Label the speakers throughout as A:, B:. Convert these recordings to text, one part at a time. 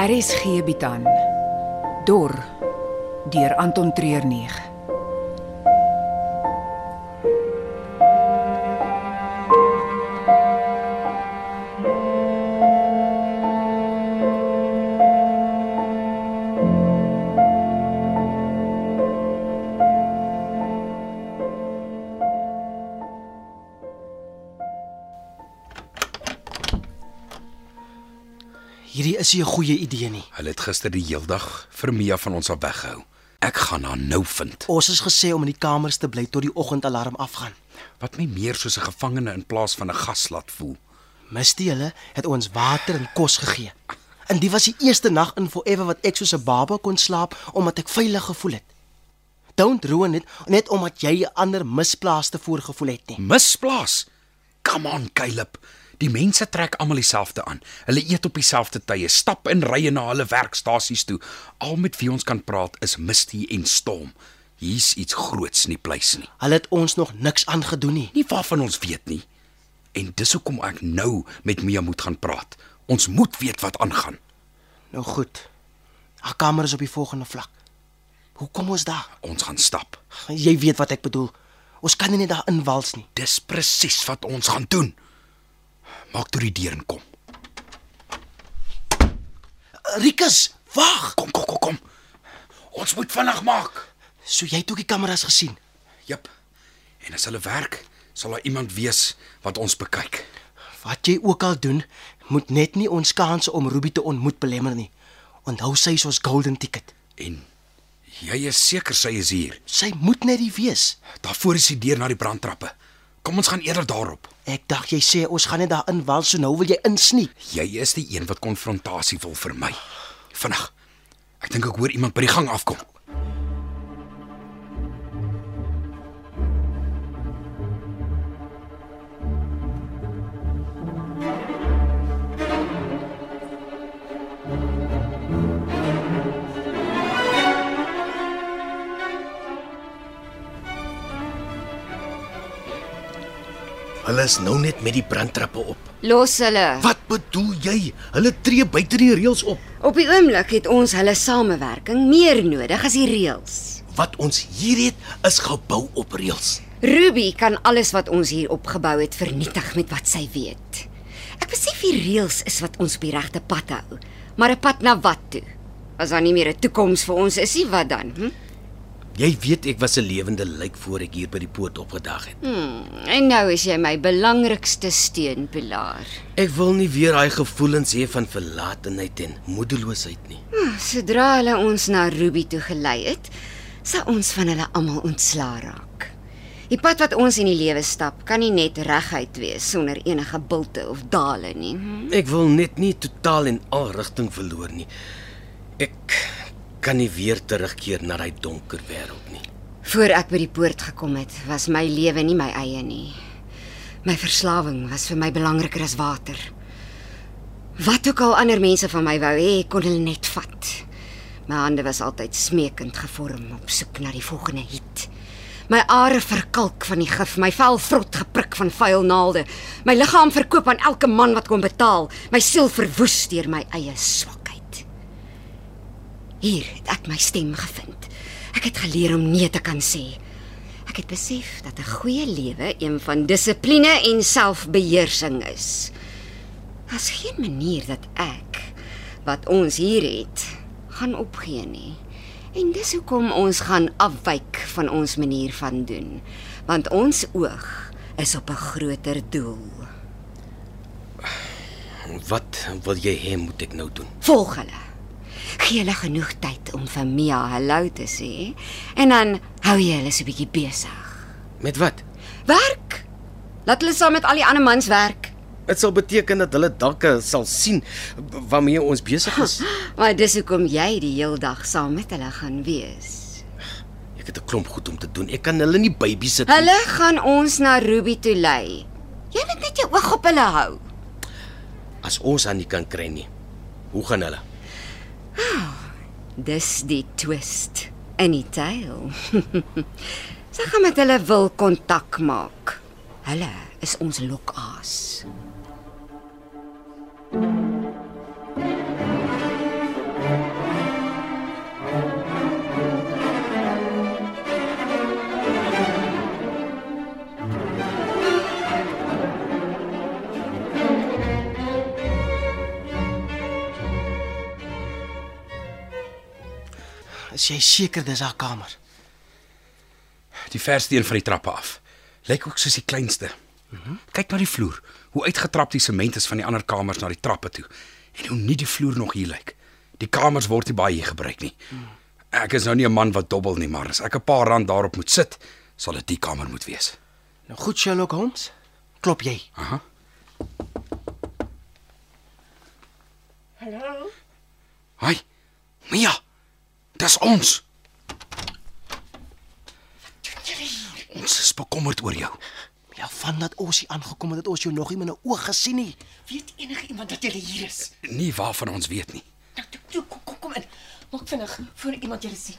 A: RSG bied aan Dor deur Anton Treuer 9.
B: Hierdie is nie 'n goeie idee nie.
C: Hulle het gister die heeldag vir Mia van ons af weggehou. Ek gaan haar nou vind.
B: Ons is gesê om in die kamers te bly tot die oggendalarm afgaan.
C: Wat my meer soos 'n gevangene in plaas van 'n gas laat voel.
B: Misty hulle het ons water en kos gegee. En dit was die eerste nag in forever wat ek soos 'n baba kon slaap omdat ek veilig gevoel het. Don't ruin it net omdat jy 'n ander misplaas te voorgevoel het nie.
C: Misplaas. Come on, Caleb. Die mense trek almal dieselfde aan. Hulle eet op dieselfde tye, stap in rye na hulle werkstasies toe. Al met wie ons kan praat is Misty en Storm. Hier's iets groots in die pleis nie.
B: Hulle het ons nog niks aangedoen nie.
C: Nie waarvan ons weet nie. En dis hoekom ek nou met Mia moet gaan praat. Ons moet weet wat aangaan.
B: Nou goed. Haar kamer is op die volgende vlak. Hoe kom ons daar?
C: Ons gaan stap.
B: Jy weet wat ek bedoel. Ons kan nie net daar inwals nie.
C: Dis presies wat ons gaan doen. Maak toe die deur en kom.
B: Rikus, wag.
C: Kom, kom, kom, kom. Ons moet vinnig maak.
B: So jy het ook die kameras gesien.
C: Jep. En as hulle werk, sal daar iemand wees wat ons bekyk.
B: Wat jy ook al doen, moet net nie ons kanse om Ruby te ontmoet belemmer nie. Onthou sy is ons golden ticket.
C: En jy is seker sy is hier.
B: Sy moet net die wees.
C: Daarvoor is die deur na die brandtrappe. Kom ons gaan eerder daarop.
B: Ek dink jy sê ons gaan net daar inwal, so nou wil jy insneek.
C: Jy is die een wat konfrontasie wil vermy. Vinnig. Ek dink ek hoor iemand by die gang afkom.
D: Hulle is nou net met die brandtrappe op.
E: Los hulle.
D: Wat bedoel jy? Hulle tree buite die reëls op
E: Op die oomblik het ons hulle samewerking meer nodig as die reëls.
D: wat ons hier het is gebou op reëls.
E: Ruby kan alles wat ons hier opgebou het vernietig met wat sy weet. Ek besef die reëls is wat ons op die regte pad hou, maar 'n pad na wat toe? As daar nie meer 'n toekoms vir ons is nie, wat dan? Hm?
D: Jy weet ek was 'n lewende lijk voor ek hier by die poort opgedag het.
E: En nou is jy my belangrikste steunpilaar.
D: Ek wil nie weer daai gevoelens hê van verlatenheid en moedeloosheid nie.
E: Ah, Sodra hulle ons na Ruby toe gelei het, sal ons van hulle almal ontslaa raak. Die pad wat ons in die lewe stap, kan nie net reguit wees sonder enige bulte of dale nie. Hm?
D: Ek wil net nie totaal en al rigting verloor nie. Ek kan nie weer terugkeer na daai donker wêreld nie.
E: Voor ek by die poort gekom het, was my lewe nie my eie nie. My verslawing was vir my belangriker as water. Wat ook al ander mense van my wou hê, kon hulle net vat. My hande was altyd smeekend gevorm op soek na die volgende hit. My are verkalk van die gif, my vel vrot geprik van vuil naalde. My liggaam verkoop aan elke man wat kom betaal, my siel verwoes deur my eie swakheid. Hier het ek my stem gevind. Ek het geleer om nee te kan sê. Ek het besef dat 'n goeie lewe een van dissipline en selfbeheersing is. Daar's geen manier dat ek wat ons hier het gaan opgee nie. En dis hoekom ons gaan afwyk van ons manier van doen, want ons oog is op 'n groter doel.
D: Wat wil jy hê moet ek nou doen?
E: Volg hulle. Gee hulle genoeg tyd om vir Mia hallo te sê en dan hou jy hulle so 'n bietjie besig.
D: Met wat?
E: Werk. Laat hulle saam met al die ander mans werk.
D: Dit sal beteken dat hulle dalk sal sien waarmee ons besig is.
E: Maar dis hoekom jy die heel dag saam met hulle gaan wees.
D: Ek het 'n klomp goed om te doen. Ek kan hulle nie babysit nie.
E: Hulle gaan ons na Ruby toe lei. Jy moet net jou oog op hulle hou.
D: As ons aan die kan kry nie. Hoe gaan hulle?
E: Dis die twist in die tale. Sy gaan met hulle wil kontak maak. Hulle is ons lokaas.
B: Is jy seker dis haar kamer?
C: Die verste een van die trappe af. Lyk ook soos die kleinste. Kyk na die vloer. Hoe uitgetrap die sement is van die ander kamers na die trappe toe. En hoe nie die vloer nog hier lyk. Die kamers word nie baie hier gebruik nie. Ek is nou nie 'n man wat dobbel nie, maar as ek 'n paar rand daarop moet sit, sal dit die kamer moet wees.
B: Nou goed Sherlock Holmes. Klop jy?
C: Aha.
F: Hallo?
C: Hi. Mia. Dis ons. Ons is bekommerd oor jou.
B: Ja, van dat ons hier aangekom het, het ons jou nog nie met 'n oog gesien nie.
F: Weet enige iemand dat jy hier is?
C: Nie waarvan ons weet nie.
F: Nou toe, toe kom, kom kom in. Maak vinnig voor iemand julle sien.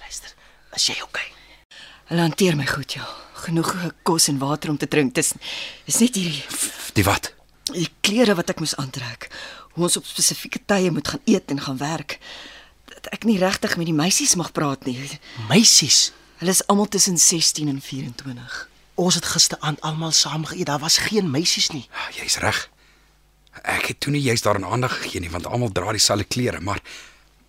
B: Luister, is jy oukei? Okay?
F: Hulle hanteer my goed, ja. Genoeg kos en water om te drink. Dis is net hierdie
C: Die wat?
F: die klere wat ek moes aantrek. Hoe ons op spesifieke tye moet gaan eet en gaan werk. Dat ek nie regtig met die meisies mag praat nie.
B: Meisies,
F: Hulle is almal tussen 16 en 24.
B: ons het gisteraand almal saam geëet. Daar was geen meisies nie.
C: Ja, Jy's reg. Ek het toe nie juist daaraan aandag gegee nie want almal dra dieselfde klere, maar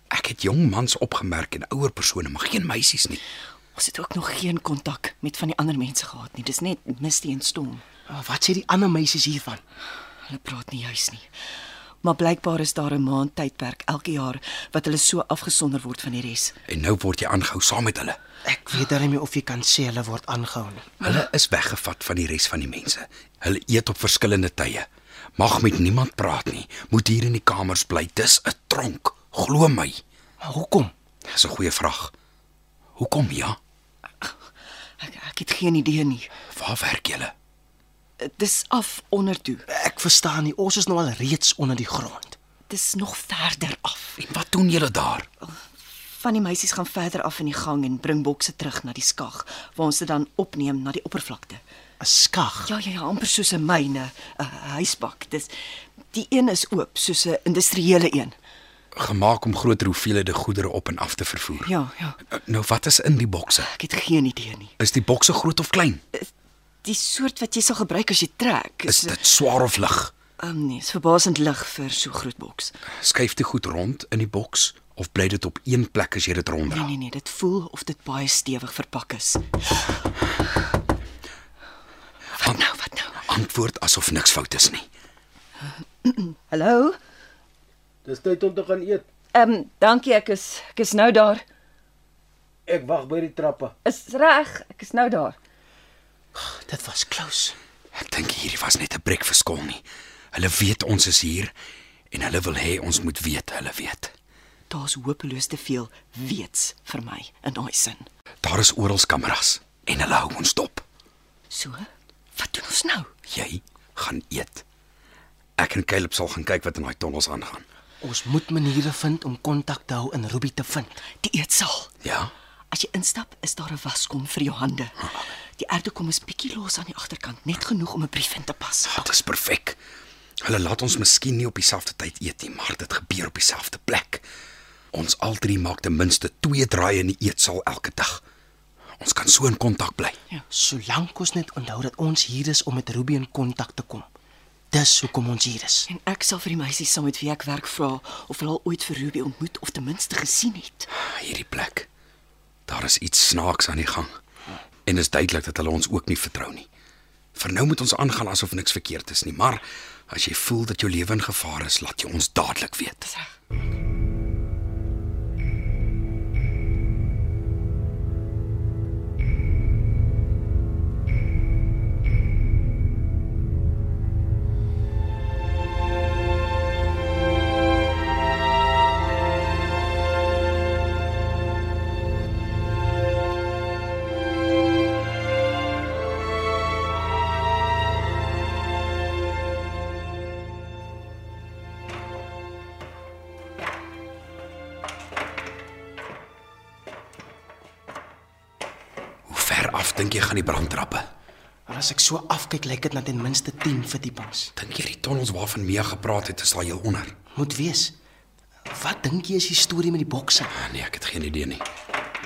C: ek het jong mans opgemerk en ouer persone, maar geen meisies nie.
G: Ons het ook nog geen kontak met van die ander mense gehad nie. Dis net misty en stom.
B: Maar Wat sê die ander meisies hiervan?
G: Hulle praat nie juis nie. Maar blykbaar is daar 'n maand tydperk elke jaar wat hulle so afgesonder word van die res.
C: En nou word jy aangehou saam met hulle.
B: Ek weet darem nie of jy kan sê hulle word aangehou nie.
C: Hulle is weggevat van die res van die mense. Hulle eet op verskillende tye. Mag met niemand praat nie. Moet hier in die kamers bly. Dis 'n tronk, glo my.
B: Maar hoekom?
C: Dis 'n goeie vraag. Hoekom ja?
G: Ek ek het geen idee nie.
C: Waar werk julle?
G: Dis af onder toe.
B: Ek verstaan nie. Ons is nou al reeds onder die grond.
G: Dis nog verder af.
C: En wat doen julle daar?
G: Van die meisies gaan verder af in die gang en bring bokse terug na die skag waar ons dit dan opneem na die oppervlakte.
B: 'n Skag.
G: Ja ja ja, amper soos 'n myne, 'n huisbak. Dis die een is oop soos 'n industriële een.
C: Gemaak om groter hoeveelhede goedere op en af te vervoer.
G: Ja, ja.
C: Nou wat is in die bokse?
G: Ek het geen idee nie.
C: Is die bokse groot of klein?
G: Die soort wat jy sal gebruik as jy trek
C: Is dit swaar of lig?
G: um, nee, is verbasend lig vir so groot boks.
C: Skuif dit goed rond in die boks of bly dit op een plek as jy dit
G: Nee
C: ronddra?
G: nee nee, dit voel of dit baie stewig verpak is.
C: An
G: Nou wat nou?
C: antwoord asof niks fout is nie.
G: Hallo?
H: Dis tyd om te gaan eet.
G: Ehm um, dankie, ek is ek is nou daar.
H: Ek wag by die trappe.
G: Is reg, ek is nou daar.
B: Dit was close.
C: Ek dink hierdie was net 'n breek vir skool nie. Hulle weet ons is hier en hulle wil hê ons moet weet hulle weet.
G: Daar's hopeloos te veel weets vir my in daai sin.
C: Daar is oral kameras en hulle hou ons dop.
G: So, wat doen ons nou?
C: Jy gaan eet. Ek en Caleb sal gaan kyk wat in daai tonnels aangaan.
B: Ons moet maniere vind om kontak te hou en Ruby te vind.
G: Die eetsaal.
C: Ja.
G: As jy instap, is daar 'n waskom vir jou hande. Die erdekom is bietjie los aan die agterkant, net genoeg om 'n brief in te pas.
C: Dit is perfek. Hulle laat ons miskien nie op dieselfde tyd eet nie, maar dit gebeur op dieselfde plek. Ons al drie maak ten minste 2 draaie in die eetsaal elke dag. Ons kan so in kontak bly.
G: Ja.
B: Solank ons net onthou dat ons hier is om met Ruby in kontak te kom. Dis hoekom ons hier is.
G: En ek sal vir die meisies saam met wie ek werk vra of hulle al ooit vir Ruby ontmoet of ten minste gesien het.
C: Ja, Hierdie plek. Daar is iets snaaks aan die gang. En dit is duidelik dat hulle ons ook nie vertrou nie. Vir nou moet ons aangaan asof niks verkeerd is nie, maar as jy voel dat jou lewe in gevaar is, laat jy ons dadelik weet. Hoe ver af dink jy gaan die brandtrappe?
B: Maar as ek so afkyk, lyk dit na ten minste 10 verdiepings.
C: Dink jy die tonnels waarvan Mia gepraat het, is daar heel onder?
B: Moet wees. Wat dink jy is die storie met die bokse?
C: Ah, Nee, ek het geen idee nie.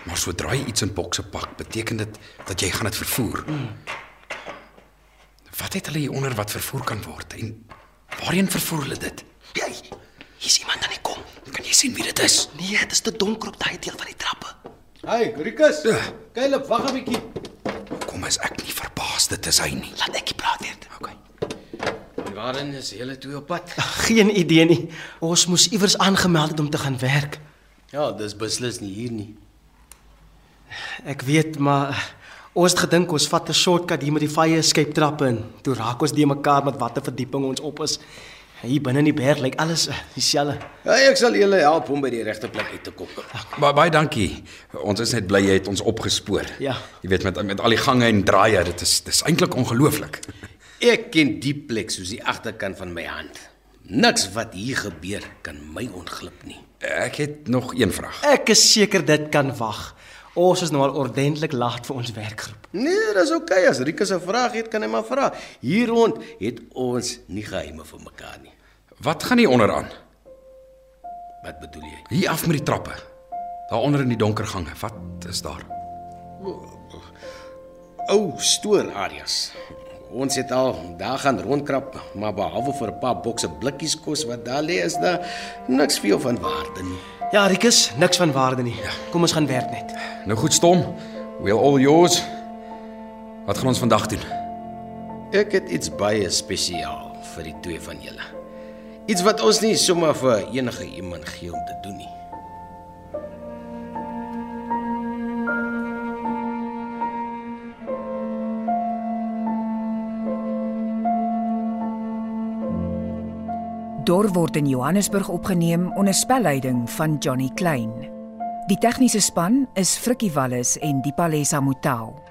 C: Maar sodra jy iets in bokse pak, beteken dit dat jy gaan dit vervoer. Mm. Wat het hulle hier onder wat vervoer kan word en waarheen vervoer hulle dit?
B: Jy, hier's iemand aan die kom.
C: Kan jy sien wie dit is.
B: Nee, dit is te donker op daai deel van die trappe.
H: Hey, Rikus.
D: Ja.
H: Caleb, wag 'n bietjie.
C: Ja, Kom as ek nie verbaas dit is hy nie.
B: Laat ek nie praat eers.
C: Okay.
D: En waarheen is julle twee op pad?
B: Geen idee nie. Ons moes iewers aangemeld het om te gaan werk.
D: Ja, dis beslis nie hier nie.
B: Ek weet, maar ons het gedink ons vat 'n shortcut hier met die fire escape trappe in. Toe raak ons die mekaar met watter verdieping ons op is. Hier binne in die berg lyk alles eh, dieselfde.
D: Ja, ek sal julle help om by die regte plek uit te kom.
C: Baie baie dankie. Ons is net bly jy het ons opgespoor.
B: Ja.
C: Jy weet met met al die gange en draaie, dit is dis eintlik ongelooflik.
D: Ek ken die plek soos die agterkant van my hand. Niks wat hier gebeur kan my ontglip nie.
C: Ek het nog een vraag.
B: Ek is seker dit kan wag. Ons is nou al ordentlik laat vir ons werkgroep.
D: Nee, dis oukei okay. as Rikus 'n vraag het, kan hy maar vra. Hier rond het ons nie geheime vir mekaar nie.
C: Wat gaan hier onderaan?
D: Wat bedoel jy?
C: Hier af met die trappe. Daaronder in die donker gange. Wat is daar?
D: Ou stoor areas. Ons het al daar gaan rondkrap, maar behalwe vir 'n paar bokse blikkies kos wat daar lê, is daar niks veel van waarde nie.
B: Ja, Rikus, niks van waarde nie. Kom ons gaan werk net.
C: Nou goed stom. We'll all yours. Wat gaan ons vandag doen?
D: Ek het iets baie spesiaal vir die twee van julle. Iets wat ons nie sommer vir enige iemand gee om te doen nie.
A: Dor word in Johannesburg opgeneem onder spelleiding van Johnny Klein. Die tegniese span is Frikkie Wallis en Dipalesa Motelo.